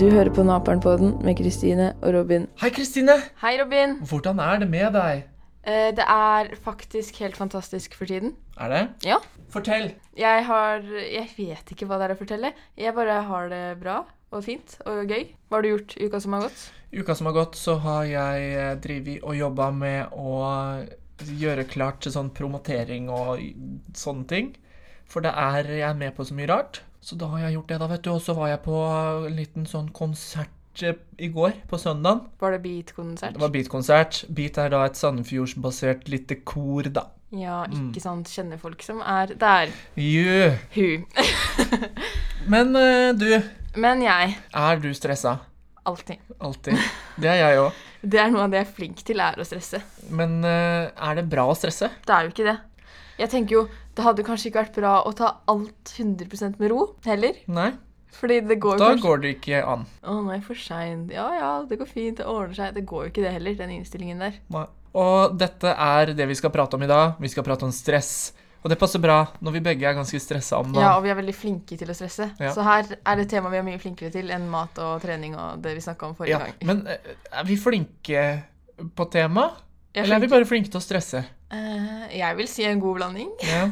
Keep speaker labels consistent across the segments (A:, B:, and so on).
A: Du hører på Naperen-podden med Kristine og Robin.
B: Hei, Kristine!
A: Hei, Robin.
B: Hvordan er det med deg?
A: Eh, Det er faktisk helt fantastisk for tiden.
B: Er det?
A: Ja.
B: Fortell!
A: Jeg har Jeg vet ikke hva det er å fortelle. Jeg bare har det bra og fint og gøy. Hva har du gjort i uka som har gått?
B: I uka som har gått, så har jeg eh, drevet og jobba med å gjøre klart til sånn promotering og i- sånne ting. For det er jeg er med på så mye rart. Så da har jeg gjort det, da, vet du. Og så var jeg på en liten sånn konsert eh, i går, på søndagen.
A: Var det beat-konsert?
B: Det var Beat-konsert. Beat er da et Sandefjordsbasert lite kor, da.
A: Ja,
B: Mm.
A: ikke sant. Kjenner folk som er der.
B: Jø.
A: Hun.
B: Men eh, du,
A: Men jeg.
B: er du stressa?
A: Alltid.
B: Alltid. Det er jeg òg.
A: Det er noe av det jeg er flink til, er å stresse.
B: Men eh, er det bra å stresse?
A: Det er jo ikke det. Jeg tenker jo, det hadde kanskje ikke vært bra å ta alt 100 med ro heller.
B: Nei,
A: Fordi det går jo
B: da
A: kanskje
B: går det ikke an.
A: Å nei, for seint. Ja ja, det går fint. Det ordner seg. Det går jo ikke det heller, den innstillingen der.
B: Nei. Og dette er det vi skal prate om i dag. Vi skal prate om stress. Og det passer bra når vi begge er ganske stressa om
A: Ja,
B: dagen.
A: og vi er veldig flinke til å stresse.
B: Ja.
A: Så her er det et tema vi er mye flinkere til enn mat og trening og det vi snakka om forrige
B: Ja,
A: gang.
B: men eh, er vi flinke på temaet?
A: Jeg,
B: Eller
A: er
B: er vi
A: flink,
B: bare flinke til å stresse?
A: Eh, jeg vil si en god blanding.
B: Ja,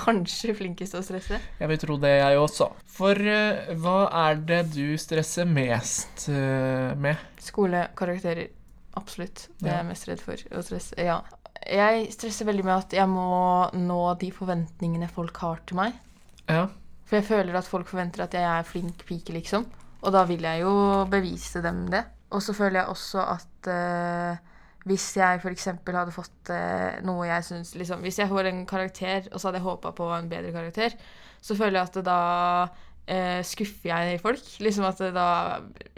A: Kanskje flinkest til å stresse.
B: jeg vil tro det, jeg også. For eh, hva er det du stresser mest eh, med?
A: Skolekarakterer. Absolutt. Det er
B: Ja.
A: jeg mest redd for. Å stresse. Ja. Jeg stresser veldig med at jeg må nå de forventningene folk har til meg.
B: Ja,
A: For jeg føler at folk forventer at jeg er flink pike, liksom. Og da vil jeg jo bevise dem det. Og så føler jeg også at eh, hvis jeg f.eks. hadde fått eh, noe jeg syns liksom, Hvis jeg får en karakter, og så hadde jeg håpa på en bedre karakter, så føler jeg at det da eh, skuffer jeg folk. Liksom at det da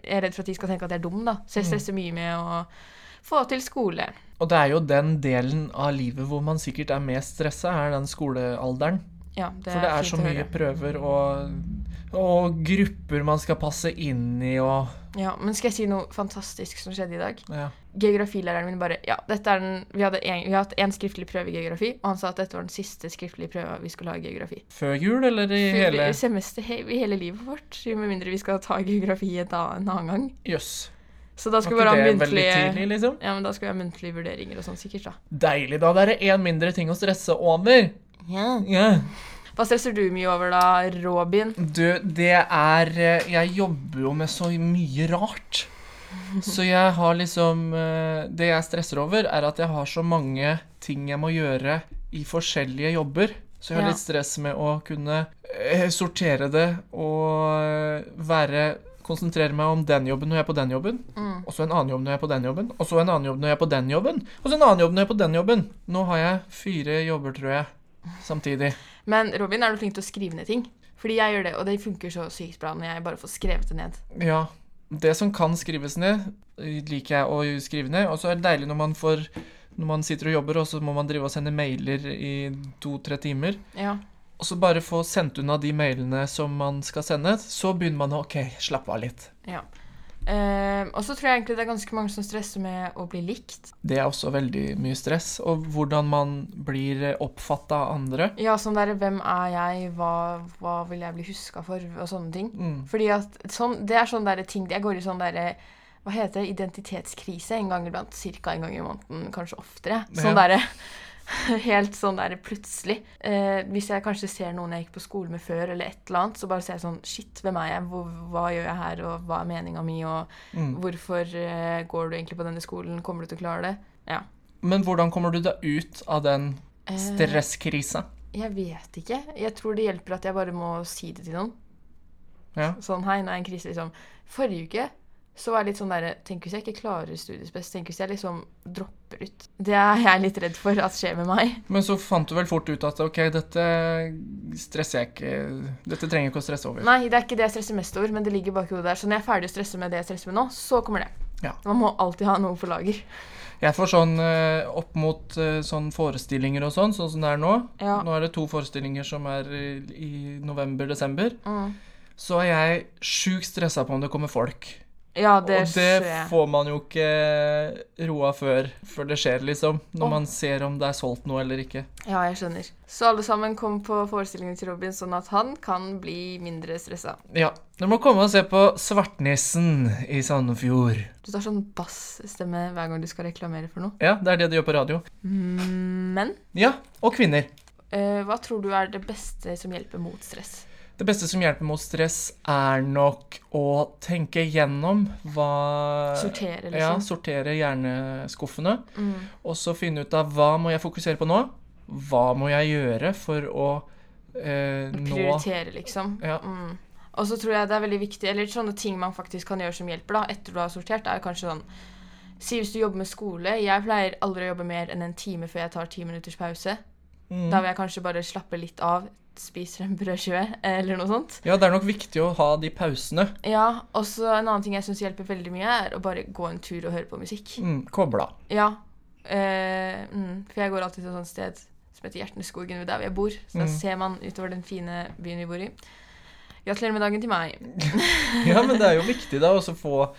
A: Jeg er redd for at de skal tenke at jeg er dum, da. Så
B: Mm.
A: jeg stresser mye med å få til skole.
B: Og det er jo den delen av livet hvor man sikkert er mest stressa, er den skolealderen.
A: Ja, det
B: For det er
A: fint
B: så
A: å
B: mye
A: høre.
B: prøver og, og grupper man skal passe inn i og
A: Ja, men skal jeg si noe fantastisk som skjedde i dag?
B: ja.
A: geografilæreren min bare ja, dette er den, vi, hadde en, vi har hatt én skriftlig prøve i geografi, og han sa at dette var den siste skriftlige prøva vi skulle ha i geografi.
B: Før jul eller i
A: For
B: hele
A: I semester, he, i hele livet vårt, med mindre vi skal ta geografi et annet, en annen gang.
B: Jøss.
A: Så da skal vi
B: Var
A: bare ha
B: ikke det veldig tidlig,
A: muntlige
B: liksom?
A: ja, men da skal vi ha muntlige vurderinger og sånn, sikkert. da.
B: Deilig, da. Det er én mindre ting å stresse over. Ja.
A: Hva stresser du mye over, da, Robin?
B: Du, det er eh, Jeg jobber jo med så mye rart. Så jeg har liksom eh, Det jeg stresser over, er at jeg har så mange ting jeg må gjøre i forskjellige jobber. Så jeg har
A: Ja.
B: litt stress med å kunne eh, sortere det og eh, være Konsentrere meg om den jobben når jeg er på den jobben, og så en annen jobb når jeg er på den jobben, og så en annen jobb når jeg er på den jobben, og så en annen jobb når jeg er på den jobben. Nå har jeg fire jobber, tror jeg, samtidig.
A: Men Robin, er du flink til å skrive ned ting? Fordi jeg gjør det, og det funker så sykt bra når jeg bare får skrevet det ned.
B: Ja. Det som kan skrives ned, liker jeg å skrive ned. Og så er det deilig når man får når man sitter og jobber, og så må man drive og sende mailer i to-tre timer.
A: Ja.
B: Og så bare få sendt unna de mailene som man skal sende. Så begynner man å OK, slappe av litt.
A: ja. Eh, og så tror jeg egentlig det er ganske mange som stresser med å bli likt.
B: Det er også veldig mye stress. Og hvordan man blir oppfatta av andre.
A: Ja, sånn derre Hvem er jeg? Hva, hva vil jeg bli huska for? Og sånne ting.
B: Mm.
A: Fordi at sånn, Det er sånn derre ting Jeg går i sånn derre hva heter det? Identitetskrise en gang iblant. Cirka en gang i måneden, kanskje oftere. Sånn
B: Ja.
A: derre Helt sånn derre plutselig. Eh, hvis jeg kanskje ser noen jeg gikk på skole med før, eller et eller annet, så bare ser jeg sånn Shit, hvem er jeg? Hvor, hva gjør jeg her? Og hva er meninga mi? Og hvorfor eh, går du egentlig på denne skolen? Kommer du til å klare det? Ja.
B: Men hvordan kommer du deg ut av den
A: Eh.
B: stresskrisa?
A: Jeg vet ikke. Jeg tror det hjelper at jeg bare må si det til noen.
B: Ja.
A: Sånn, hei, nå er jeg i en krise, liksom. Forrige uke så var jeg litt sånn derre Tenk hvis jeg ikke klarer studiespes? Tenk hvis jeg liksom dropper ut? Det er jeg litt redd for at skjer med meg.
B: Men så fant du vel fort ut at OK, dette stresser jeg ikke Dette trenger jeg ikke å stresse over.
A: Nei, det er ikke det jeg stresser mest over, men det ligger bak hodet der. Så når jeg er ferdig å stresse med det jeg stresser med nå, så kommer det.
B: Ja.
A: Man må alltid ha noe på lager.
B: Jeg får sånn eh, opp mot eh, sånn forestillinger og sånn, sånn som det er nå.
A: Ja.
B: Nå er det to forestillinger som er i, i november-desember.
A: Mm.
B: Så er jeg sjukt stressa på om det kommer folk.
A: Ja, det,
B: og
A: ser
B: det
A: jeg.
B: får man jo ikke eh, roa før, før det skjer, liksom. Når
A: Åh.
B: man ser om det er solgt noe eller ikke.
A: Ja, jeg skjønner. Så alle sammen kom på forestillingen til Robin, sånn at han kan bli mindre stressa.
B: Ja. Dere må komme og se på Svartnissen i Sandefjord.
A: Du tar sånn bassstemme hver gang du skal reklamere for noe.
B: Ja, det er det de gjør på radio.
A: Mm, Men
B: Ja, og kvinner.
A: eh, hva tror du er det beste som hjelper mot stress?
B: Det beste som hjelper mot stress, er nok å tenke gjennom hva
A: Sortere, liksom.
B: Eh, Ja, sortere hjerneskuffene.
A: Mm.
B: Og så finne ut av hva må jeg fokusere på nå? Hva må jeg gjøre for å eh, nå
A: Prioritere, liksom.
B: Ja.
A: Mm. Og så tror jeg det er veldig viktig, eller sånne ting man faktisk kan gjøre som hjelper, da, etter du har sortert, er kanskje sånn Si hvis du jobber med skole. Jeg pleier aldri å jobbe mer enn en time før jeg tar ti minutters pause.
B: Mm.
A: Da vil jeg kanskje bare slappe litt av, spiser en brødskive eller noe sånt.
B: Ja, det er nok viktig å ha de pausene.
A: Ja, og så en annen ting jeg syns hjelper veldig mye, er å bare gå en tur og høre på musikk.
B: Mm, kobla.
A: Ja. Eh, mm, for jeg går alltid til et sånt sted som heter Hjerteneskogen, ved der hvor jeg bor. Så da
B: Mm.
A: ser man utover den fine byen vi bor i. Gratulerer med dagen til meg.
B: Ja, men det er jo viktig da også å få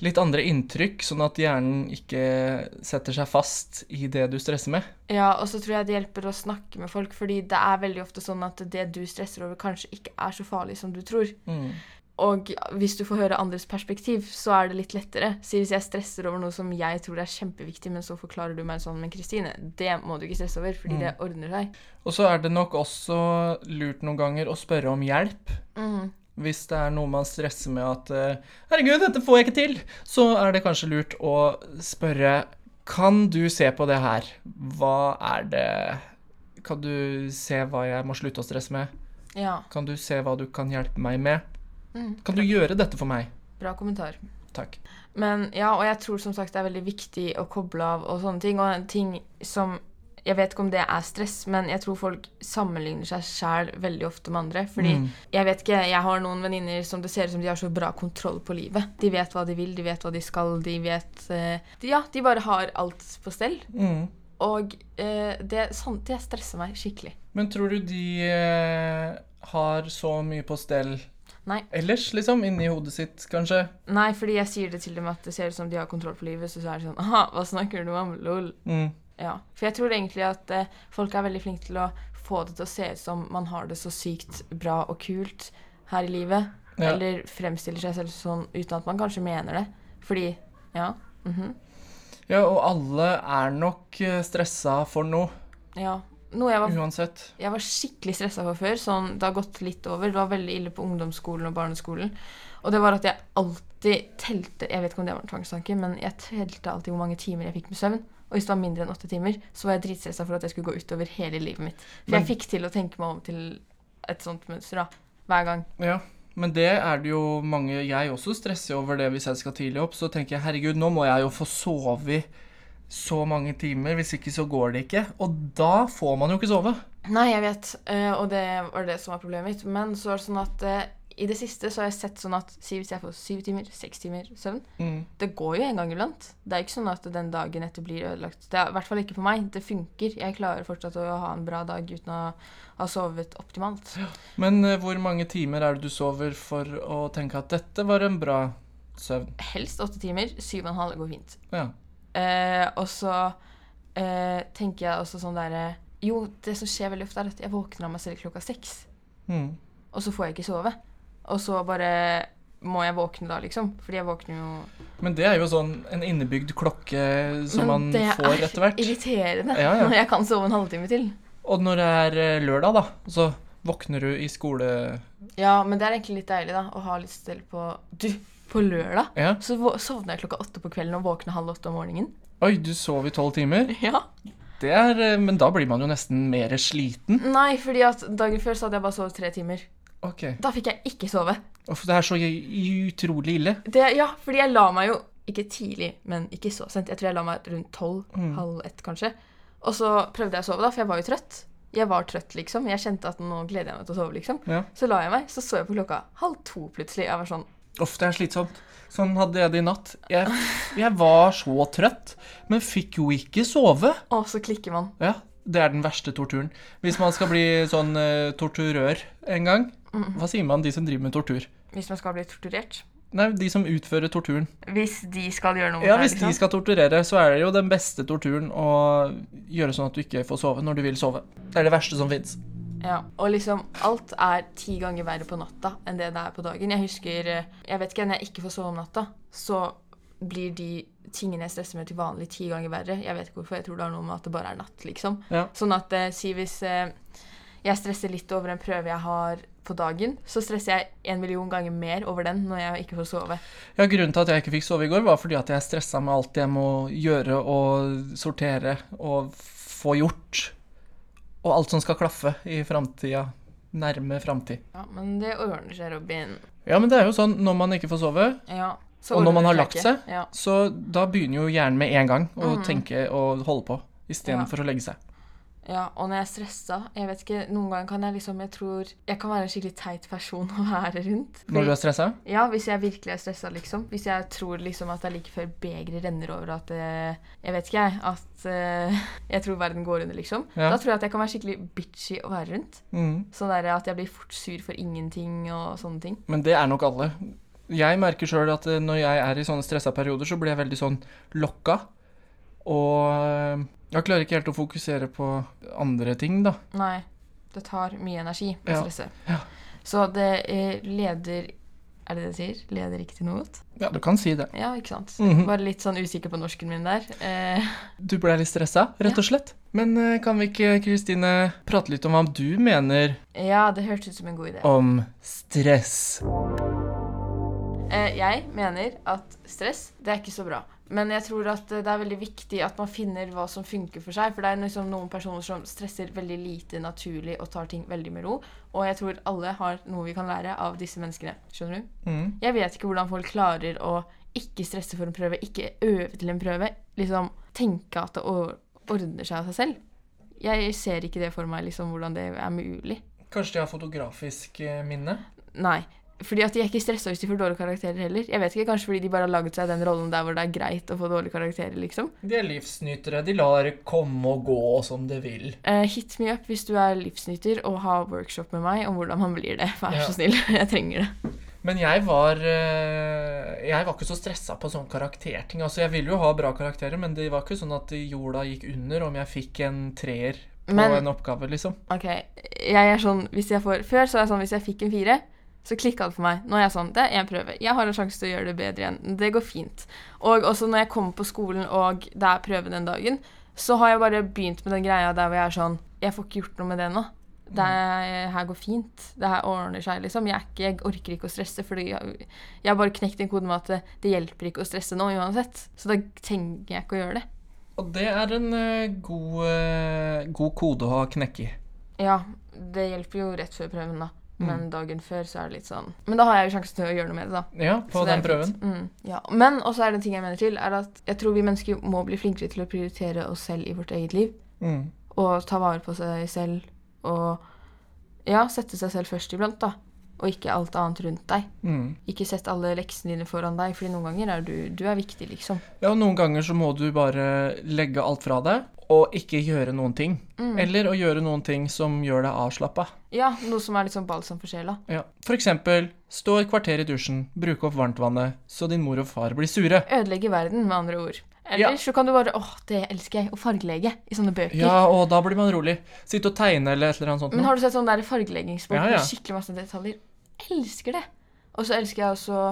B: litt andre inntrykk, sånn at hjernen ikke setter seg fast i det du stresser med.
A: Ja, og så tror jeg det hjelper å snakke med folk, fordi det er veldig ofte sånn at det du stresser over, kanskje ikke er så farlig som du tror.
B: Mm.
A: Og hvis du får høre andres perspektiv, så er det litt lettere. Si hvis jeg stresser over noe som jeg tror er kjempeviktig, men så forklarer du meg sånn, men Kristine, det må du ikke stresse over, fordi det ordner seg.
B: Og så er det nok også lurt noen ganger å spørre om hjelp.
A: Mm.
B: Hvis det er noe man stresser med at eh, 'herregud, dette får jeg ikke til', så er det kanskje lurt å spørre 'kan du se på det her'? Hva er det Kan du se hva jeg må slutte å stresse med?
A: Ja.
B: Kan du se hva du kan hjelpe meg med?
A: Mm.
B: Kan du gjøre dette for meg?
A: Bra kommentar.
B: Takk.
A: Men ja, og jeg tror som sagt det er veldig viktig å koble av og sånne ting. Og en ting som Jeg vet ikke om det er stress, men jeg tror folk sammenligner seg sjæl veldig ofte med andre. Fordi
B: Mm.
A: jeg vet ikke, jeg har noen venninner som det ser ut som de har så bra kontroll på livet. De vet hva de vil, de vet hva de skal, de vet eh, de, Ja, de bare har alt på stell.
B: Mm.
A: Og eh, det, sånn, det stresser meg skikkelig.
B: Men tror du de eh, har så mye på stell
A: Nei.
B: ellers, liksom? Inni hodet sitt, kanskje?
A: Nei, fordi jeg sier det til dem at det ser ut som de har kontroll på livet, så, så er det sånn Aha, hva snakker du om? Lol.
B: Mm.
A: Ja, for jeg tror egentlig at eh, folk er veldig flinke til å få det til å se ut som man har det så sykt bra og kult her i livet.
B: Ja.
A: Eller fremstiller seg selv sånn uten at man kanskje mener det. Fordi ja. mhm,
B: Ja, og alle er nok eh, stressa for noe,
A: ja. Noe jeg var,
B: uansett.
A: jeg var skikkelig stressa for før, sånn det har gått litt over. Det var veldig ille på ungdomsskolen og barneskolen. Og det var at jeg alltid telte Jeg vet ikke om det var en tvangstanke, men jeg telte alltid hvor mange timer jeg fikk med søvn. Og hvis det var mindre enn åtte timer, så var jeg dritstressa for at det skulle gå utover hele livet mitt. For
B: Men-
A: jeg fikk til å tenke meg om til et sånt mønster, da. Hver gang.
B: Ja, men det er det jo mange Jeg også stresser jo over det hvis jeg skal tidlig opp. Så tenker jeg herregud, nå må jeg jo få sove i så mange timer. Hvis ikke så går det ikke. Og da får man jo ikke sove.
A: Nei, jeg vet, eh, og det var det som var problemet mitt. Men så er det sånn at eh, i det siste så har jeg sett sånn at si hvis jeg får syv timer, seks timer søvn
B: Mm.
A: Det går jo en gang iblant. Det er ikke sånn at den dagen etter blir ødelagt. Det er i hvert fall ikke for meg. Det funker. Jeg klarer fortsatt å ha en bra dag uten å ha sovet optimalt.
B: Men eh, hvor mange timer er det du sover for å tenke at dette var en bra søvn?
A: Helst åtte timer. Syv og en halv går fint.
B: Ja.
A: Eh, og så eh, tenker jeg også sånn derre Jo, det som skjer veldig ofte, er at jeg våkner av meg selv klokka seks,
B: Mm.
A: og så får jeg ikke sove. Og så bare må jeg våkne da, liksom. Fordi jeg våkner jo
B: Men det er jo sånn en innebygd klokke som
A: Men det
B: man får etter hvert.
A: er irriterende
B: Ja, ja.
A: når jeg kan sove en halvtime til.
B: Og når det er eh, lørdag, da, så våkner du i skole...
A: Ja, men det er egentlig litt deilig, da, å ha litt stell på Du, på lørdag
B: Ja.
A: så vå- sovna jeg klokka åtte på kvelden og våkna halv åtte om morgenen.
B: Oi, du sov i tolv timer.
A: Ja.
B: Det er, eh, men da blir man jo nesten mer sliten.
A: Nei, fordi at dagen før så hadde jeg bare sovet tre timer.
B: Ok.
A: Da fikk jeg ikke sove.
B: Uff, det er så i- utrolig ille.
A: Det, ja, fordi jeg la meg jo ikke tidlig, men ikke så sent. Jeg tror jeg la meg rundt tolv,
B: Mm.
A: halv ett kanskje. Og så prøvde jeg å sove, da, for jeg var jo trøtt. Jeg var trøtt, liksom. Jeg kjente at nå gleder jeg meg til å sove, liksom.
B: Ja.
A: Så la jeg meg, så så jeg på klokka halv to plutselig. Jeg var sånn
B: Uff, det er slitsomt. Sånn hadde jeg det i natt. Jeg, jeg var så trøtt, men fikk jo ikke sove.
A: Å, så klikker man.
B: Ja, det er den verste torturen. Hvis man skal bli sånn eh, torturør en gang, hva sier man de som driver med tortur?
A: Hvis man skal bli torturert.
B: Nei, de som utfører torturen.
A: Hvis de skal gjøre noe
B: Ja,
A: mot
B: hvis
A: deg,
B: de
A: liksom.
B: skal torturere, så er det jo den beste torturen å gjøre sånn at du ikke får sove når du vil sove. Det er det verste som fins.
A: Ja. Og liksom, alt er ti ganger verre på natta enn det det er på dagen. Jeg husker eh, Jeg vet ikke, når jeg ikke får sove om natta, så blir de tingene jeg stresser med til vanlig, ti ganger verre. Jeg vet ikke hvorfor. Jeg tror det har noe med at det bare er natt, liksom.
B: Ja.
A: Sånn at eh, si hvis eh, jeg stresser litt over en prøve jeg har på dagen, så stresser jeg en million ganger mer over den når jeg ikke får sove.
B: Ja, Grunnen til at jeg ikke fikk sove i går, var fordi at jeg stressa med alt jeg må gjøre og sortere og få gjort. Og alt som skal klaffe i framtida. Nærme framtid.
A: Ja, men det ordner seg, Robin.
B: Ja, men det er jo sånn når man ikke får sove,
A: Ja. så
B: Og når man
A: ordner
B: har
A: det
B: lagt
A: ikke.
B: seg?
A: Ja.
B: så da begynner jo hjernen med en gang å tenke og holde på.
A: Ja.
B: Istedenfor for å legge seg.
A: Ja, og når jeg er stressa jeg vet ikke, Noen ganger kan jeg liksom Jeg tror jeg kan være en skikkelig teit person å være rundt.
B: Når du er stressa?
A: Ja, Hvis jeg virkelig er stressa, liksom. Hvis jeg tror liksom at det er like før begeret renner over, at eh, Jeg vet ikke, jeg. At eh, jeg tror verden går under, liksom.
B: Ja.
A: Da tror jeg at jeg kan være skikkelig bitchy å være rundt.
B: Mm.
A: Sånn der At jeg blir fort sur for ingenting og sånne ting.
B: Men det er nok alle. Jeg merker sjøl at eh, når jeg er i sånne stressa perioder, så blir jeg veldig sånn lokka. Og eh, jeg klarer ikke helt å fokusere på andre ting, da.
A: Nei, det tar mye energi å
B: Ja,
A: stresse.
B: ja.
A: Så det eh, leder Er det det det sier? Leder ikke til noe godt?
B: Ja, du kan si det.
A: Ja, ikke sant.
B: Mhm.
A: Bare litt sånn usikker på norsken min der. Eh,
B: Du ble litt stressa, rett og slett. Men eh, kan vi ikke, Kristine, prate litt om hva du mener
A: Ja, det hørtes ut som en god idé.
B: om stress?
A: Eh, Jeg mener at stress, det er ikke så bra. Men jeg tror at eh, det er veldig viktig at man finner hva som funker for seg. For det er liksom noen personer som stresser veldig lite naturlig og tar ting veldig med ro. Og jeg tror alle har noe vi kan lære av disse menneskene. Skjønner du?
B: Mm.
A: Jeg vet ikke hvordan folk klarer å ikke stresse for en prøve, ikke øve til en prøve. Liksom tenke at det or- ordner seg av seg selv. Jeg ser ikke det for meg, liksom, hvordan det er mulig.
B: Kanskje de har fotografisk eh, minne?
A: Nei. Fordi at de er ikke stressa hvis de får dårlige karakterer heller. Jeg vet ikke, Kanskje fordi de bare har laget seg den rollen der hvor det er greit å få dårlige karakterer, liksom.
B: De er livsnytere. De lar komme og gå som de vil.
A: Eh, hit me up hvis du er livsnyter og har workshop med meg om hvordan man blir det. Vær
B: Ja.
A: så snill. Jeg trenger det.
B: Men jeg var eh, Jeg var ikke så stressa på sånn karakterting. Altså, jeg ville jo ha bra karakterer, men det var ikke sånn at jorda gikk under om jeg fikk en treer på
A: Men-
B: en oppgave, liksom.
A: Ok, jeg er sånn hvis jeg får Før så er jeg sånn hvis jeg fikk en fire, så klikka det for meg. Nå er jeg sånn Det er én prøve. Jeg har en sjanse til å gjøre det bedre igjen. Det går fint. Og også når jeg kommer på skolen og det er prøve den dagen, så har jeg bare begynt med den greia der hvor jeg er sånn Jeg får ikke gjort noe med det nå. Det er- her går fint. Det her ordner seg, liksom. Jeg, er ikke, jeg orker ikke å stresse, fordi jeg, jeg har bare knekt en kode med at det, det hjelper ikke å stresse nå uansett. Så da trenger jeg ikke å gjøre det.
B: Og det er en eh, god, eh, god kode å ha knekk i.
A: Ja, det hjelper jo rett før prøven, da. Men
B: Mm.
A: dagen før så er det litt sånn Men da har jeg jo sjansen til å gjøre noe med det, da.
B: Ja, på
A: Så det er
B: den prøven.
A: fint. Mm, ja. Men også er det en ting jeg mener til, er at jeg tror vi mennesker må bli flinkere til å prioritere oss selv i vårt eget liv.
B: Mm.
A: Og ta vare på seg selv og ja, sette seg selv først iblant, da. Og ikke alt annet rundt deg.
B: Mm.
A: Ikke sett alle leksene dine foran deg, fordi noen ganger er du, du er viktig, liksom.
B: Ja, og noen ganger så må du bare legge alt fra deg og ikke gjøre noen ting.
A: Mm.
B: Eller å gjøre noen ting som gjør deg avslappa.
A: Ja, noe som er litt sånn balsam for sjela.
B: Ja. For eksempel, stå et kvarter i dusjen, bruke opp varmtvannet, så din mor og far blir sure.
A: Ødelegge verden, med andre ord. Eller
B: Ja.
A: så kan du bare Åh, det elsker jeg. Å fargelegge i sånne bøker.
B: Ja, og da blir man rolig. Sitte og tegne eller et eller annet sånt.
A: Men
B: noe.
A: har du sett sånn der fargeleggingsbok
B: Ja, ja.
A: med skikkelig masse detaljer? Elsker det! Og så elsker jeg også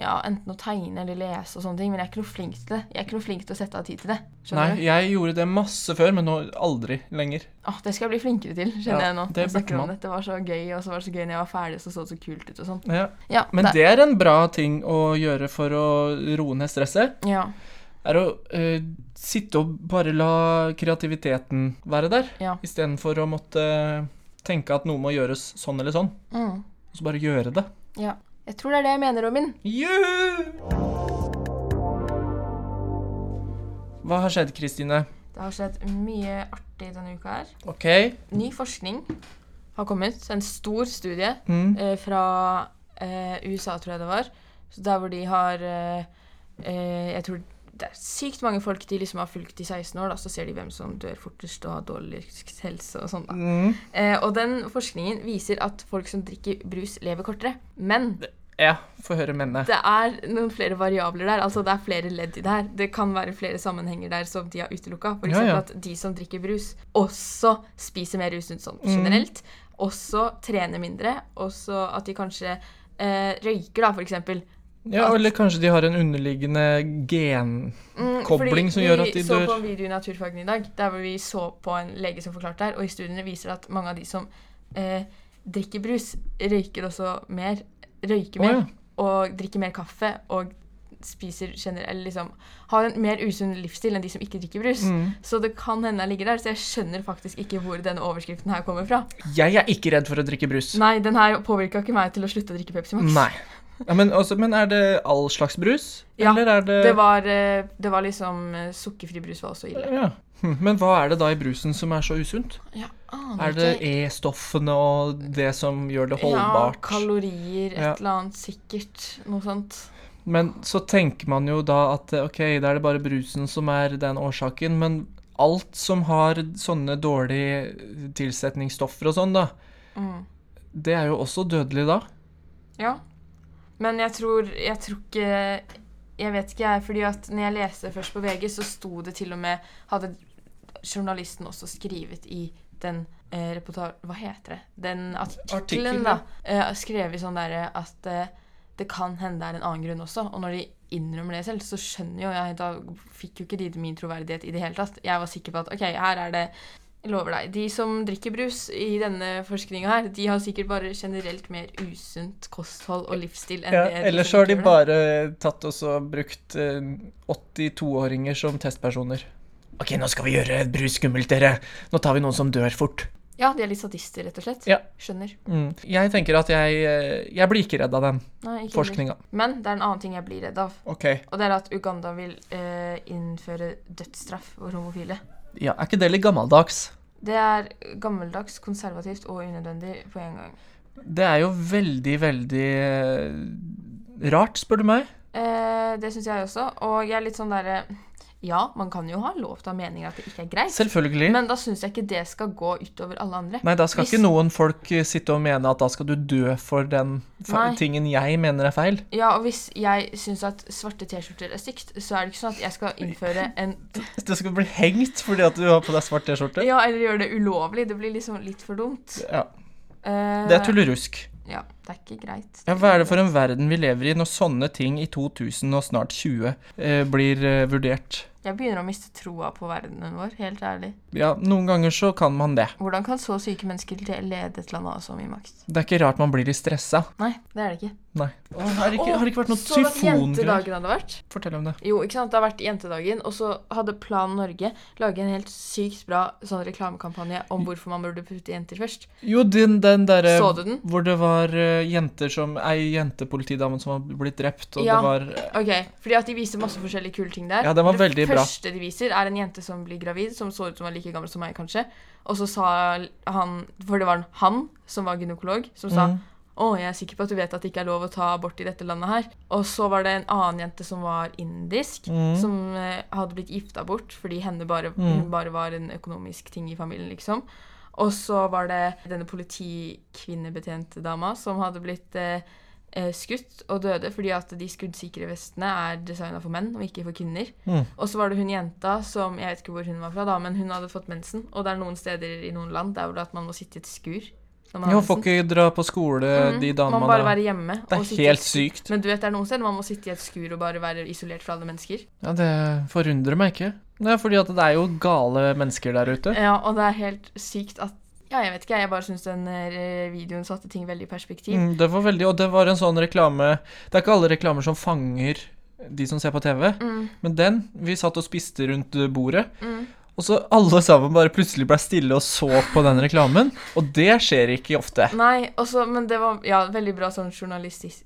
A: ja, enten å tegne eller lese og sånne ting, men jeg er ikke noe flink til det. Jeg er ikke noe flink til å sette av tid til det.
B: Nei,
A: Skjønner du?
B: jeg gjorde det masse før, men nå aldri lenger.
A: Åh, det skal jeg bli flinkere til, skjønner
B: Ja,
A: jeg nå.
B: det
A: Jeg snakker
B: burde
A: om
B: man.
A: Det var så gøy, og så var det så gøy når jeg var ferdig, så så det så kult ut og sånn.
B: Ja.
A: Ja,
B: Men
A: det-
B: det er en bra ting å gjøre for å roe ned stresset.
A: Ja,
B: Er å eh, sitte og bare la kreativiteten være der,
A: Ja.
B: istedenfor å måtte tenke at noe må gjøres sånn eller sånn.
A: Mm.
B: Og så bare gjøre det.
A: ja. Jeg tror det er det jeg mener, Robin.
B: Juhu! Hva har skjedd, Kristine?
A: Det har skjedd mye artig denne uka her.
B: Ok.
A: Ny forskning har kommet. En stor studie
B: Mm.
A: eh, fra eh, USA, tror jeg det var. Så der hvor de har eh, eh, Jeg tror det er sykt mange folk de liksom har fulgt i 16 år, da, så ser de hvem som dør fortest og har dårligst helse og sånn. da.
B: Mm.
A: Eh, og den forskningen viser at folk som drikker brus, lever kortere. Men
B: Ja, få høre mennene.
A: Det er noen flere variabler der. altså Det er flere ledd i det her. Det kan være flere sammenhenger der som de har utelukka. F.eks.
B: Ja,
A: eksempel
B: ja.
A: at de som drikker brus, også spiser mer usunt sånn
B: Mm.
A: generelt. Også trener mindre. Også at de kanskje eh, røyker, da, f.eks.
B: Ja, eller kanskje de har en underliggende gen...
A: Mm,
B: Kobling som gjør at de
A: Vi så
B: dør.
A: på en video i naturfagene i dag, der hvor vi så på en lege som forklarte her, og i studiene viser det at mange av de som eh, drikker brus, røyker også mer, røyker
B: Å,
A: mer,
B: ja.
A: og drikker mer kaffe, og spiser generelt, liksom, har en mer usunn livsstil enn de som ikke drikker brus.
B: Mm.
A: Så det kan hende jeg ligger der, så jeg skjønner faktisk ikke hvor denne overskriften her kommer fra.
B: Jeg er ikke redd for å drikke brus.
A: Nei, den her påvirka ikke meg til å slutte å drikke Pepsi Max.
B: Nei. Ja, men, også, men er det all slags brus?
A: Ja,
B: Eller er det,
A: Det var, eh, det var liksom eh, Sukkerfri brus var også ille.
B: ja. Hm, Men hva er det da i brusen som er så usunt?
A: Jeg aner
B: Er det
A: ikke.
B: E-stoffene og det som gjør det holdbart?
A: Ja, kalorier, et
B: Ja.
A: eller annet sikkert. Noe sånt.
B: Men så tenker man jo da at eh, ok, da er det bare brusen som er den årsaken, men alt som har sånne dårlige eh, tilsetningsstoffer og sånn, da,
A: Mm.
B: det er jo også dødelig da.
A: Ja. Men jeg tror, jeg tror ikke Jeg vet ikke, jeg. fordi at når jeg leste først på VG, så sto det til og med Hadde journalisten også skrevet i den eh, reportasjen Hva heter det? Den artikkelen,
B: Artikkelen,
A: da. Eh, skrevet sånn derre at eh, det kan hende det er en annen grunn også. Og når de innrømmer det selv, så skjønner jo jeg Da fikk jo ikke de min troverdighet i det hele tatt. Jeg var sikker på at OK, her er det Jeg lover deg. De som drikker brus i denne forskninga her, de har sikkert bare generelt mer usunt kosthold og livsstil enn det
B: Ellers
A: som
B: så har de
A: ikke gjør det.
B: bare eh, tatt oss og brukt eh, 82-åringer som testpersoner. Ok, nå skal vi gjøre brus skummelt, dere. Nå tar vi noen som dør fort.
A: Ja, de er litt sadister, rett og slett.
B: Ja.
A: Skjønner.
B: Mm. Jeg tenker at jeg, eh, jeg blir ikke redd av den
A: Nei, ikke heller.
B: forskninga.
A: Men det er en annen ting jeg blir redd av.
B: Ok.
A: Og det er at Uganda vil eh, innføre dødsstraff for homofile.
B: Ja, er ikke det litt gammeldags?
A: Det er gammeldags, konservativt og unødvendig på en gang.
B: Det er jo veldig, veldig eh, rart, spør du meg.
A: Eh, det syns jeg også. Og jeg er litt sånn derre Ja, man kan jo ha lov til å ha meninger at det ikke er greit,
B: Selvfølgelig.
A: men da syns jeg ikke det skal gå utover alle andre.
B: Nei, da skal
A: Hvis-
B: ikke noen folk eh, sitte og mene at da skal du dø for den fa
A: Nei.
B: tingen jeg mener er feil.
A: Ja, og hvis jeg syns at svarte T-skjorter er stygt, så er det ikke sånn at jeg skal innføre en
B: Du skal bli hengt fordi at du har på deg svart T-skjorte.
A: Ja, eller gjøre det ulovlig. Det blir liksom litt for dumt.
B: Ja,
A: Eh,
B: det er tullerusk.
A: Ja, det er ikke greit.
B: Ja, hva er det for en verden vi lever i når sånne ting i 2000 og snart 20 eh, blir eh, vurdert?
A: Jeg begynner å miste troa på verdenen vår, helt ærlig.
B: Ja, noen ganger så kan man det.
A: Hvordan kan så syke mennesker lede et land av så mye makt?
B: Det er ikke rart man blir litt stressa.
A: Nei, det er det ikke.
B: Nei. har, det ikke, har det ikke vært noe
A: Så du at
B: tyfongreier?
A: jentedagen hadde vært?
B: Fortell om det.
A: Jo, ikke sant? Det har vært jentedagen, og så hadde Plan Norge laget en helt sykt bra sånn reklamekampanje om hvorfor man burde putte jenter først.
B: Jo, den, den derre
A: Så du den?
B: hvor det var eh, jenter som Ei jentepolitidame som var blitt drept, og
A: Ja.
B: det var
A: Ok, fordi at de viste masse forskjellige kule ting der.
B: Ja, den var
A: det
B: veldig bra.
A: første de viser, er en jente som blir gravid, som så ut som var like gammel som meg, kanskje. Og så sa han, for det var han som var gynekolog, som sa
B: Mhm.
A: å, jeg er sikker på at du vet at det ikke er lov å ta abort i dette landet her. Og så var det en annen jente som var indisk,
B: Mhm.
A: som eh, hadde blitt gifta bort fordi henne bare,
B: Mhm.
A: hun bare var en økonomisk ting i familien, liksom. Og så var det denne politikvinnebetjente dama som hadde blitt eh, eh, skutt og døde fordi at de skuddsikre vestene er designa for menn og ikke for kvinner.
B: Mm.
A: Og så var det hun jenta som jeg vet ikke hvor hun var fra, da, men hun hadde fått mensen. Og det er noen steder i noen land der hvor det er at man må sitte i et skur. når man har
B: Jo,
A: mensen.
B: får ikke dra på skole,
A: Mm,
B: de damene
A: Man må bare være hjemme.
B: Det
A: og
B: er
A: sitte i et
B: helt
A: skur.
B: sykt.
A: Men du vet, det er noen steder man må sitte i et skur og bare være isolert fra alle mennesker.
B: Ja, det forundrer meg ikke. Det er fordi at det er jo gale mennesker der ute.
A: Ja, og det er helt sykt at Ja, jeg vet ikke, jeg bare syns den eh, videoen satte ting veldig i perspektiv.
B: Mm, det var veldig, og det var en sånn reklame Det er ikke alle reklamer som fanger de som ser på TV,
A: Mm,
B: men den Vi satt og spiste rundt bordet,
A: mm.
B: og så alle sammen bare plutselig ble stille og så på den reklamen. Og det skjer ikke ofte.
A: Nei, også, men det var ja, veldig bra sånn journalistisk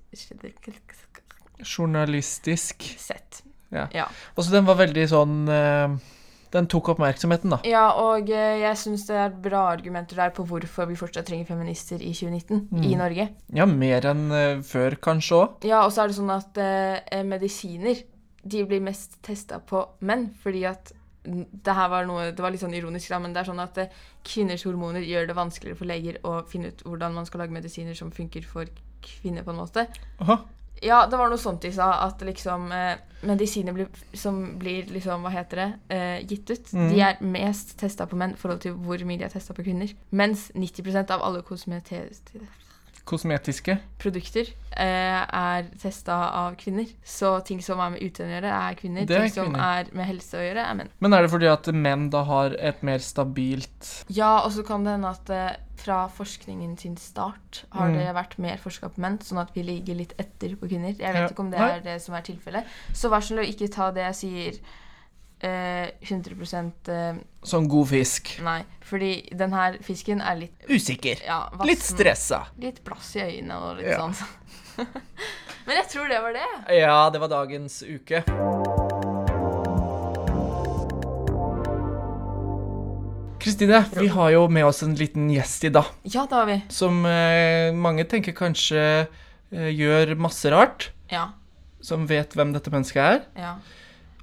B: Journalistisk.
A: sett.
B: Og så den var veldig sånn eh, Den tok oppmerksomheten, da.
A: Ja, og eh, jeg syns det er bra argumenter der på hvorfor vi fortsatt trenger feminister i 2019 i
B: Mm.
A: Norge.
B: Ja, mer enn eh, før, kanskje òg.
A: Ja, og så eh, er det sånn at eh, medisiner de blir mest testa på menn, fordi at det her var noe, det var litt sånn ironisk, da, men det er sånn at eh, kvinners hormoner gjør det vanskeligere for leger å finne ut hvordan man skal lage medisiner som funker for kvinner, på en måte.
B: Aha.
A: Ja, det var noe sånt de sa, at liksom eh, medisiner blir, som blir liksom, hva heter det, eh, gitt ut,
B: Mhm.
A: de er mest testa på menn i forhold til hvor mye de er testa på kvinner. Mens 90 av alle kosmetiske
B: Kosmetiske.
A: produkter eh, er testa av kvinner. Så ting som er med utseende å gjøre, er kvinner.
B: Det er
A: ting som
B: kvinner.
A: er med helse å gjøre, er menn.
B: Men er det fordi at menn da har et mer stabilt
A: Ja, og så kan det hende at eh, fra forskningen sin start har
B: Mm.
A: det vært mer forska på menn, sånn at vi ligger litt etter på kvinner. Jeg vet
B: Ja.
A: ikke om det
B: Nei.
A: er det som er tilfellet. Så vær så snill å ikke ta det jeg sier eh, 100 eh,
B: sånn god fisk?
A: nei. Fordi den her fisken er litt
B: Usikker.
A: ja, vassen,
B: Litt stressa.
A: Litt plass i øynene og litt
B: Ja.
A: sånn. Men jeg tror det var det.
B: Ja, det var dagens uke. Kristine, vi har jo med oss en liten gjest i dag,
A: Ja, det har vi.
B: som eh, mange tenker kanskje eh, gjør masse rart,
A: Ja.
B: som vet hvem dette mennesket er.
A: ja.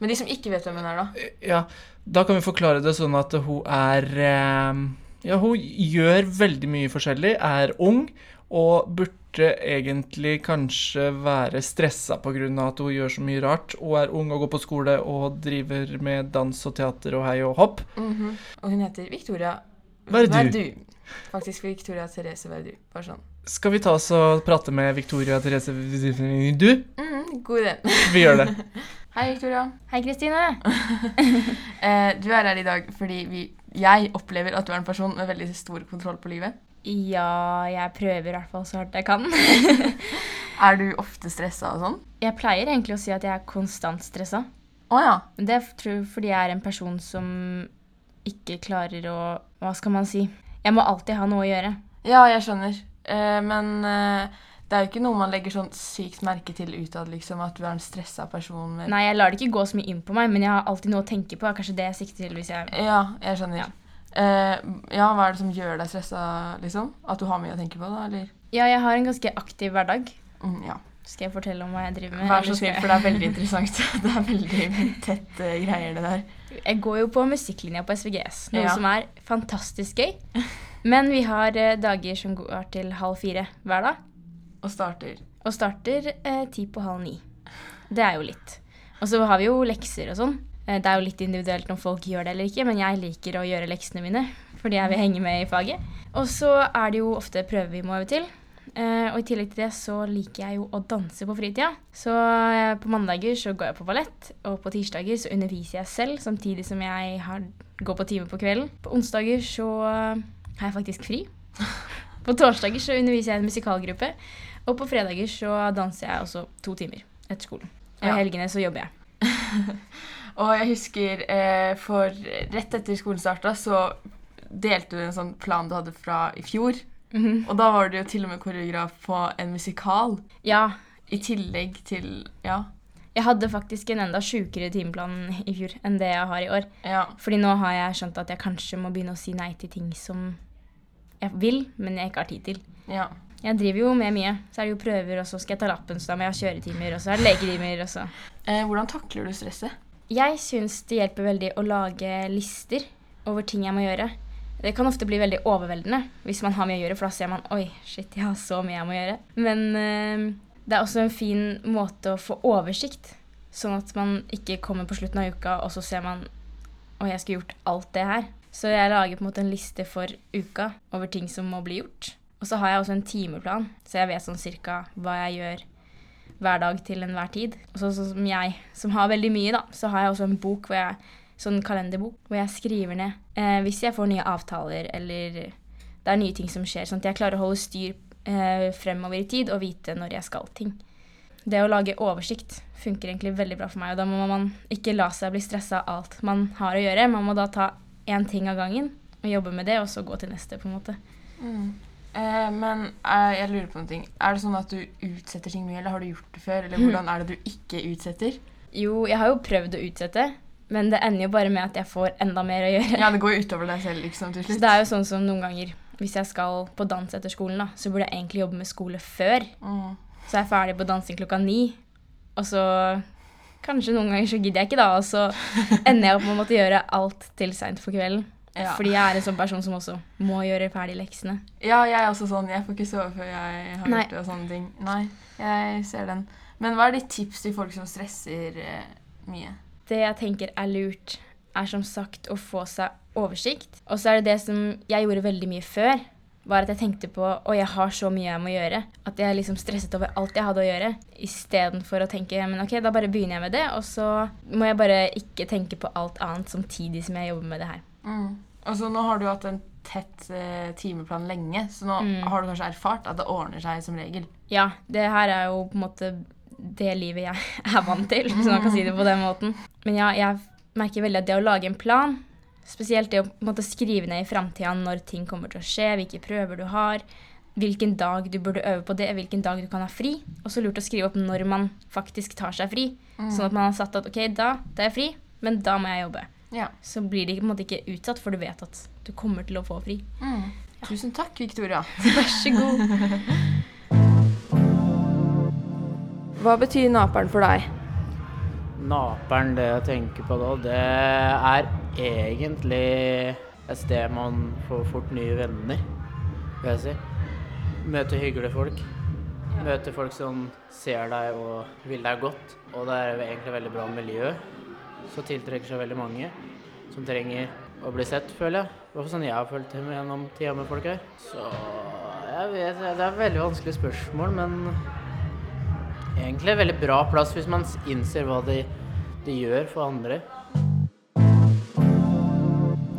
A: Men de som ikke vet hvem hun er, da?
B: Eh, Ja, da kan vi forklare det sånn at hun er eh, Ja, hun gjør veldig mye forskjellig, er ung og burde egentlig kanskje være stressa pga. at hun gjør så mye rart. Hun er ung og går på skole og driver med dans og teater og hei og hopp.
A: Mhm. Og hun heter Victoria
B: Mm-hmm. Verdu.
A: Faktisk Victoria Therese Verdu. Bare sånn.
B: Skal vi ta oss og prate med Victoria Therese Du?
A: Mm, god idé.
B: Vi gjør det.
A: Hei, Victoria.
C: Hei, Kristine.
A: Eh, du er her i dag fordi vi, jeg opplever at du er en person med veldig stor kontroll på livet.
C: Ja, jeg prøver i hvert fall så hardt jeg kan.
A: Er du ofte stressa og sånn?
C: Jeg pleier egentlig å si at jeg er konstant stressa.
A: Å ja.
C: Men det er f- tror jeg fordi jeg er en person som ikke klarer å Hva skal man si? Jeg må alltid ha noe å gjøre.
A: Ja, jeg skjønner. Eh, men eh, det er jo ikke noe man legger sånn sykt merke til utad, liksom, at du er en stressa person. Med...
C: Nei, jeg lar det ikke gå så mye inn på meg, men jeg har alltid noe å tenke på. er Kanskje det jeg sikter til hvis jeg
A: Ja, jeg skjønner.
C: Ja.
A: Eh, ja, hva er det som gjør deg stressa, liksom? At du har mye å tenke på, da, eller?
C: Ja, jeg har en ganske aktiv hverdag.
A: Mm, ja.
C: Skal jeg fortelle om hva jeg driver med?
A: Vær
C: eller
A: så
C: skal
A: snill,
C: jeg-
A: Eh, for det er veldig interessant. Det er veldig tette greier, det der.
C: Jeg går jo på musikklinja på SVGS, noe
A: Ja.
C: som er fantastisk gøy. Men vi har eh, dager som går til halv fire hver dag.
A: Og starter.
C: Og starter eh, ti på halv ni. Det er jo litt. Og så har vi jo lekser og sånn. Eh, Det er jo litt individuelt om folk gjør det eller ikke, men jeg liker å gjøre leksene mine fordi jeg vil henge med i faget. Og så er det jo ofte prøver vi må øve til. Eh, og i tillegg til det så liker jeg jo å danse på fritida. Så eh, på mandager så går jeg på ballett, og på tirsdager så underviser jeg selv samtidig som jeg har, går på time på kvelden. På onsdager så eh, har jeg faktisk fri. På torsdager så underviser jeg i en musikalgruppe, og på fredager så danser jeg også to timer etter skolen. Og i
A: Ja.
C: helgene så jobber jeg.
A: Og jeg husker eh, for rett etter skolen starta, så delte du en sånn plan du hadde fra i fjor.
C: Mhm.
A: Og da var du jo til og med koreograf på en musikal.
C: Ja,
A: I tillegg til Ja.
C: jeg hadde faktisk en enda sjukere timeplan i fjor enn det jeg har i år.
A: ja.
C: Fordi nå har jeg skjønt at jeg kanskje må begynne å si nei til ting som jeg vil, men jeg ikke har tid til.
A: ja.
C: Jeg driver jo med mye. Så er det jo prøver, og så skal jeg ta lappen, så da må jeg ha kjøretimer, og så er det leketimer, og så
A: Eh, hvordan takler du stresset?
C: Jeg syns det hjelper veldig å lage lister over ting jeg må gjøre. Det kan ofte bli veldig overveldende hvis man har mye å gjøre, for da ser man oi, shit, jeg har så mye jeg må gjøre. Men eh, det er også en fin måte å få oversikt, sånn at man ikke kommer på slutten av uka og så ser man oi, jeg skulle gjort alt det her. Så jeg lager på en måte en liste for uka over ting som må bli gjort. Og så har jeg også en timeplan, så jeg vet sånn cirka hva jeg gjør hver dag til enhver tid. Og så, sånn som jeg, som har veldig mye, da, så har jeg også en bok hvor jeg, sånn kalenderbok hvor jeg skriver ned eh, hvis jeg får nye avtaler eller det er nye ting som skjer. Sånn at jeg klarer å holde styr eh, fremover i tid og vite når jeg skal ting. Det å lage oversikt funker egentlig veldig bra for meg, og da må man ikke la seg bli stressa av alt man har å gjøre. Man må da ta én ting av gangen og jobbe med det, og så gå til neste, på en måte. Mm.
A: Eh, men eh, jeg lurer på noe. ting. Er det sånn at du utsetter ting mye, eller har du gjort det før? Eller
C: Hmm.
A: hvordan er det du ikke utsetter?
C: Jo, jeg har jo prøvd å utsette, men det ender jo bare med at jeg får enda mer å gjøre.
A: Ja, det går jo utover deg selv, liksom, til
C: Så
A: slutt.
C: det er jo sånn som noen ganger hvis jeg skal på dans etter skolen, da, så burde jeg egentlig jobbe med skole før.
A: Mm.
C: Så er jeg ferdig på dansing klokka ni, og så Kanskje noen ganger så gidder jeg ikke, da, og så ender jeg opp med å måtte gjøre alt til seint på kvelden.
A: Ja.
C: Fordi jeg er en sånn person som også må gjøre ferdig leksene.
A: Ja, jeg er også sånn. Jeg får ikke sove før jeg har
C: Nei.
A: gjort det og sånne ting. Nei, jeg ser den. Men hva er ditt tips til folk som stresser eh, mye?
C: Det jeg tenker er lurt, er som sagt å få seg oversikt. Og så er det det som jeg gjorde veldig mye før, var at jeg tenkte på å jeg har så mye jeg må gjøre. At jeg liksom stresset over alt jeg hadde å gjøre. Istedenfor å tenke men ok, da bare begynner jeg med det, og så må jeg bare ikke tenke på alt annet samtidig som jeg jobber med det her.
A: Mm. Altså, nå har du hatt en tett eh, timeplan lenge, så nå
C: Mm.
A: har du kanskje erfart at det ordner seg som regel.
C: Ja, det her er jo på en måte det livet jeg er vant til, hvis man kan si det på den måten. Men ja, jeg merker veldig at det å lage en plan, spesielt det å på en måte skrive ned i framtida når ting kommer til å skje, hvilke prøver du har, hvilken dag du burde øve på det, hvilken dag du kan ha fri. Og så lurt å skrive opp når man faktisk tar seg fri, sånn at man har satt at ok, da tar jeg fri, men da må jeg jobbe.
A: Ja.
C: Så blir det på en måte ikke utsatt, for du vet at du kommer til å få fri.
A: Mm. Tusen takk, Victoria.
C: Vær så god.
D: Hva betyr naperen for deg?
E: Naperen, det jeg tenker på da, det er egentlig et sted man får fort nye venner, vil jeg si. Møte hyggelige folk. Møte folk som ser deg og vil deg godt. Og det er egentlig veldig bra miljø. Så tiltrekker seg veldig mange som trenger å bli sett, føler jeg. I hvert fall sånn jeg har følt det gjennom tida med folk her. Så jeg vet Det er et veldig vanskelig spørsmål, men egentlig en veldig bra plass hvis man s- innser hva de, de gjør for andre.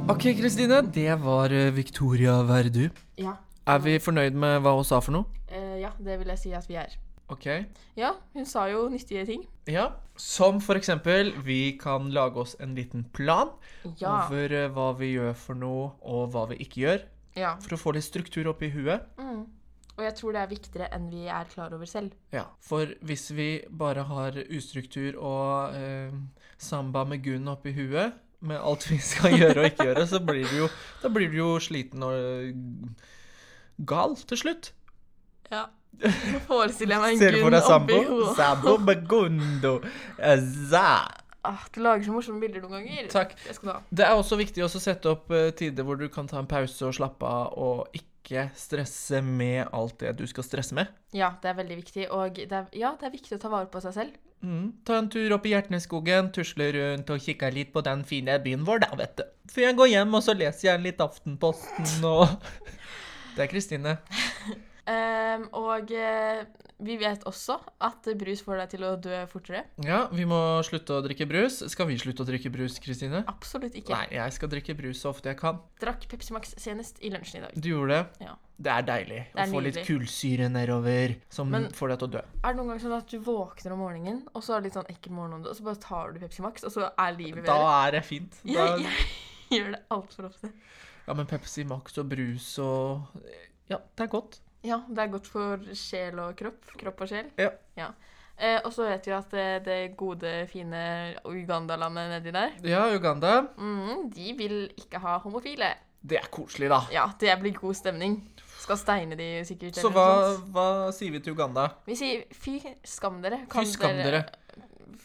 B: Ok, Kristine, det var eh, Victoria Verdu.
A: Ja. eh,
B: Er vi fornøyd med hva hun sa for noe?
A: ja, det vil jeg si at vi er.
B: Ok.
A: Ja, hun sa jo nyttige ting.
B: Ja. Som for eksempel, vi kan lage oss en liten plan
A: Ja.
B: over eh, hva vi gjør for noe, og hva vi ikke gjør.
A: ja.
B: For å få litt struktur opp i huet.
A: Mm. Og jeg tror det er viktigere enn vi er klar over selv.
B: Ja. For hvis vi bare har ustruktur og eh, samba med Gunn oppi huet med alt vi skal gjøre og ikke gjøre, så blir du jo, da blir du jo sliten og eh, gal til slutt.
A: Ja. Nå forestiller jeg
B: Ser
A: meg en
B: du for deg
A: Gunn oppi
B: sambo?
A: hodet.
B: Sambo Bagundo. Azza.
A: Ah, du lager så morsomme bilder noen ganger.
B: Takk.
A: Det skal du ha.
B: Det er også viktig å sette opp eh, tider hvor du kan ta en pause og slappe av, og ikke stresse med alt det du skal stresse med.
A: Ja, det er veldig viktig. Og det er, ja, det er viktig å ta vare på seg selv.
B: Mm. Ta en tur opp i Hjertneskogen, tusle rundt og kikke litt på den fine byen vår, da, vet du. Før jeg går hjem, og så leser jeg litt Aftenposten og Det er Kristine.
A: Ehm, og eh, vi vet også at brus får deg til å dø fortere.
B: Ja, vi må slutte å drikke brus. Skal vi slutte å drikke brus, Kristine?
A: Absolutt ikke.
B: Nei, jeg skal drikke brus så ofte jeg kan.
A: Drakk Pepsi Max senest i lunsjen i dag.
B: Du gjorde det?
A: Ja.
B: Det er deilig
A: Det er
B: å få litt
A: nydelig.
B: kullsyre nedover som
A: Men-
B: får deg til å dø.
A: Er det noen ganger sånn at du våkner om morgenen, og så har du litt sånn ekkel morgenånde, og så bare tar du Pepsi Max, og så er livet
B: Da
A: bedre?
B: er det fint. Da,
A: Jeg, jeg gjør det altfor ofte.
B: ja, men Pepsi Max og brus og Ja, det er godt.
A: Ja, det er godt for sjel og kropp. Kropp og sjel.
B: Ja.
A: Eh, og så vet vi at eh, det gode, fine Ugandalandet nedi der,
B: Ja, Uganda.
A: mm, de vil ikke ha homofile.
B: Det er koselig, da.
A: Ja, det blir god stemning. Skal steine de sikkert.
B: Så
A: eller
B: hva,
A: noe sånt.
B: hva sier vi til Uganda?
A: Vi sier fy skam dere.
B: Fy skam dere.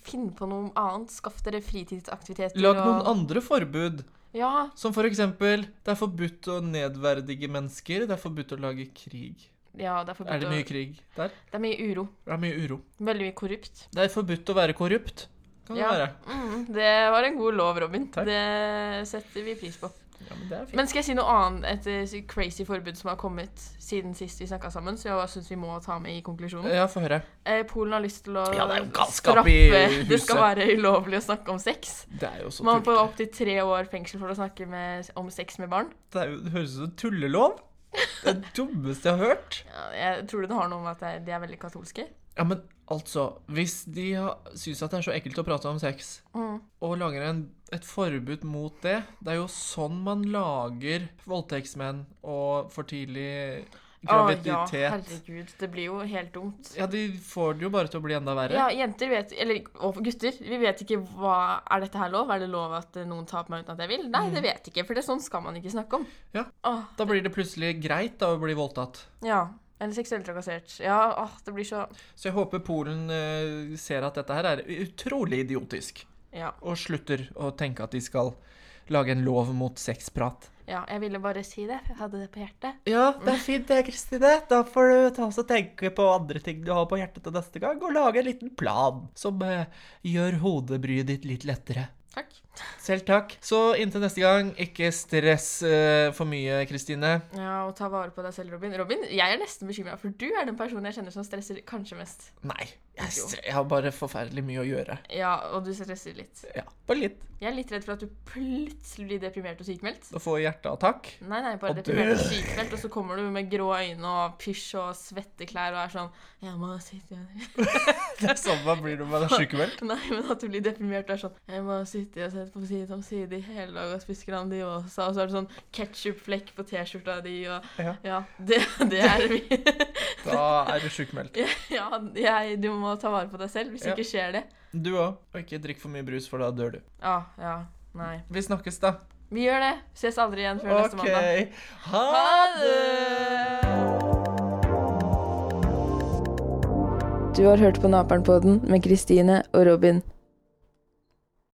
A: Finn på noe annet. Skaff dere fritidsaktiviteter.
B: Lag noen andre forbud.
A: Ja,
B: Som for eksempel, det er forbudt å nedverdige mennesker. Det er forbudt å lage krig.
A: ja, det er forbudt.
B: Er det
A: å-
B: mye krig der?
A: Det er mye uro.
B: Det er mye uro.
A: Veldig mye korrupt.
B: Det er forbudt å være korrupt. Kan det
A: Ja.
B: være.
A: Mm, det var en god lov, Robin.
B: Takk.
A: Det setter vi pris på.
B: Ja, men det er fint.
A: Men skal jeg si noe annet etter så crazy forbud som har kommet siden sist vi snakka sammen, så jeg syns vi må ta med i konklusjonen.
B: Ja, få høre.
A: Eh, Polen har lyst til å
B: Ja, det er jo galskap
A: straffe
B: i
A: Det
B: huset.
A: skal være ulovlig å snakke om sex.
B: Det er jo så
A: Man får
B: tullete.
A: opptil tre år fengsel for å snakke med, om sex med barn.
B: Det, er jo, det høres ut som tullelov. Det er det dummeste jeg har hørt.
A: Ja, Jeg tror det har noe med at det er- de er veldig katolske.
B: Ja, men altså, hvis de har- syns at det er så ekkelt å prate om sex,
A: Mm.
B: og lager en, et forbud mot det Det er jo sånn man lager voldtektsmenn og for tidlig
A: ja,
B: graviditet. ja,
A: herregud. Det blir jo helt dumt.
B: de får det jo bare til å bli enda verre.
A: Ja, jenter vet, eller, og gutter, vi vet ikke hva Er dette her lov? Er det lov at eh, noen tar på meg uten at jeg vil? Nei, det vet jeg ikke, for det er sånn skal man ikke snakke om.
B: Ja.
A: Åh,
B: Da blir det plutselig greit da å bli voldtatt.
A: ja. Eller seksuelt trakassert. Ja, åh, det blir så
B: Så jeg håper Polen eh, ser at dette her er utrolig idiotisk,
A: Ja.
B: og slutter å tenke at de skal lage en lov mot sexprat.
A: ja. Jeg ville bare si det, for jeg hadde det på hjertet.
B: Ja, det er fint det, Kristine. Da får du ta oss og tenke på andre ting du har på hjertet til neste gang, og lage en liten plan som eh, gjør hodebryet ditt litt lettere.
A: Takk.
B: Selv takk. Så inntil neste gang, ikke stress eh, for mye, Kristine.
A: Ja, og ta vare på deg selv, Robin. Robin, jeg er nesten bekymra, for du er den personen jeg kjenner som stresser kanskje mest.
B: Nei, jeg, stre- jeg har bare forferdelig mye å gjøre.
A: Ja, og du stresser litt.
B: Ja, bare litt.
A: Jeg er litt redd for at du plutselig blir deprimert og sykemeldt.
B: Da får jeg hjerteattakk.
A: Nei, nei, bare
B: Og
A: deprimert og
B: dør.
A: sykemeldt, og så kommer du med grå øyne og pysj og svette klær og er sånn Jeg må sitte her.
B: Det er sånn man blir når man er sykemeldt.
A: Nei, men at du blir deprimert og er sånn Jeg må sitte og sette på side om side i hele dag og spise Grandiosa, og så er det sånn ketsjupflekk på T-skjorta di og
B: Ja.
A: Ja, det, det er vi.
B: Da er du sykemeldt.
A: Ja, jeg, du må ta vare på deg selv. Hvis
B: Ja.
A: ikke skjer det
B: Du òg. Og ikke drikk for mye brus, for da dør du.
A: Ja, Ah, ja. Nei.
B: Vi snakkes, da.
A: Vi gjør det. Ses aldri igjen før neste mandag.
B: Ha det!
D: Du har hørt på Naperen-podden med Kristine og Robin.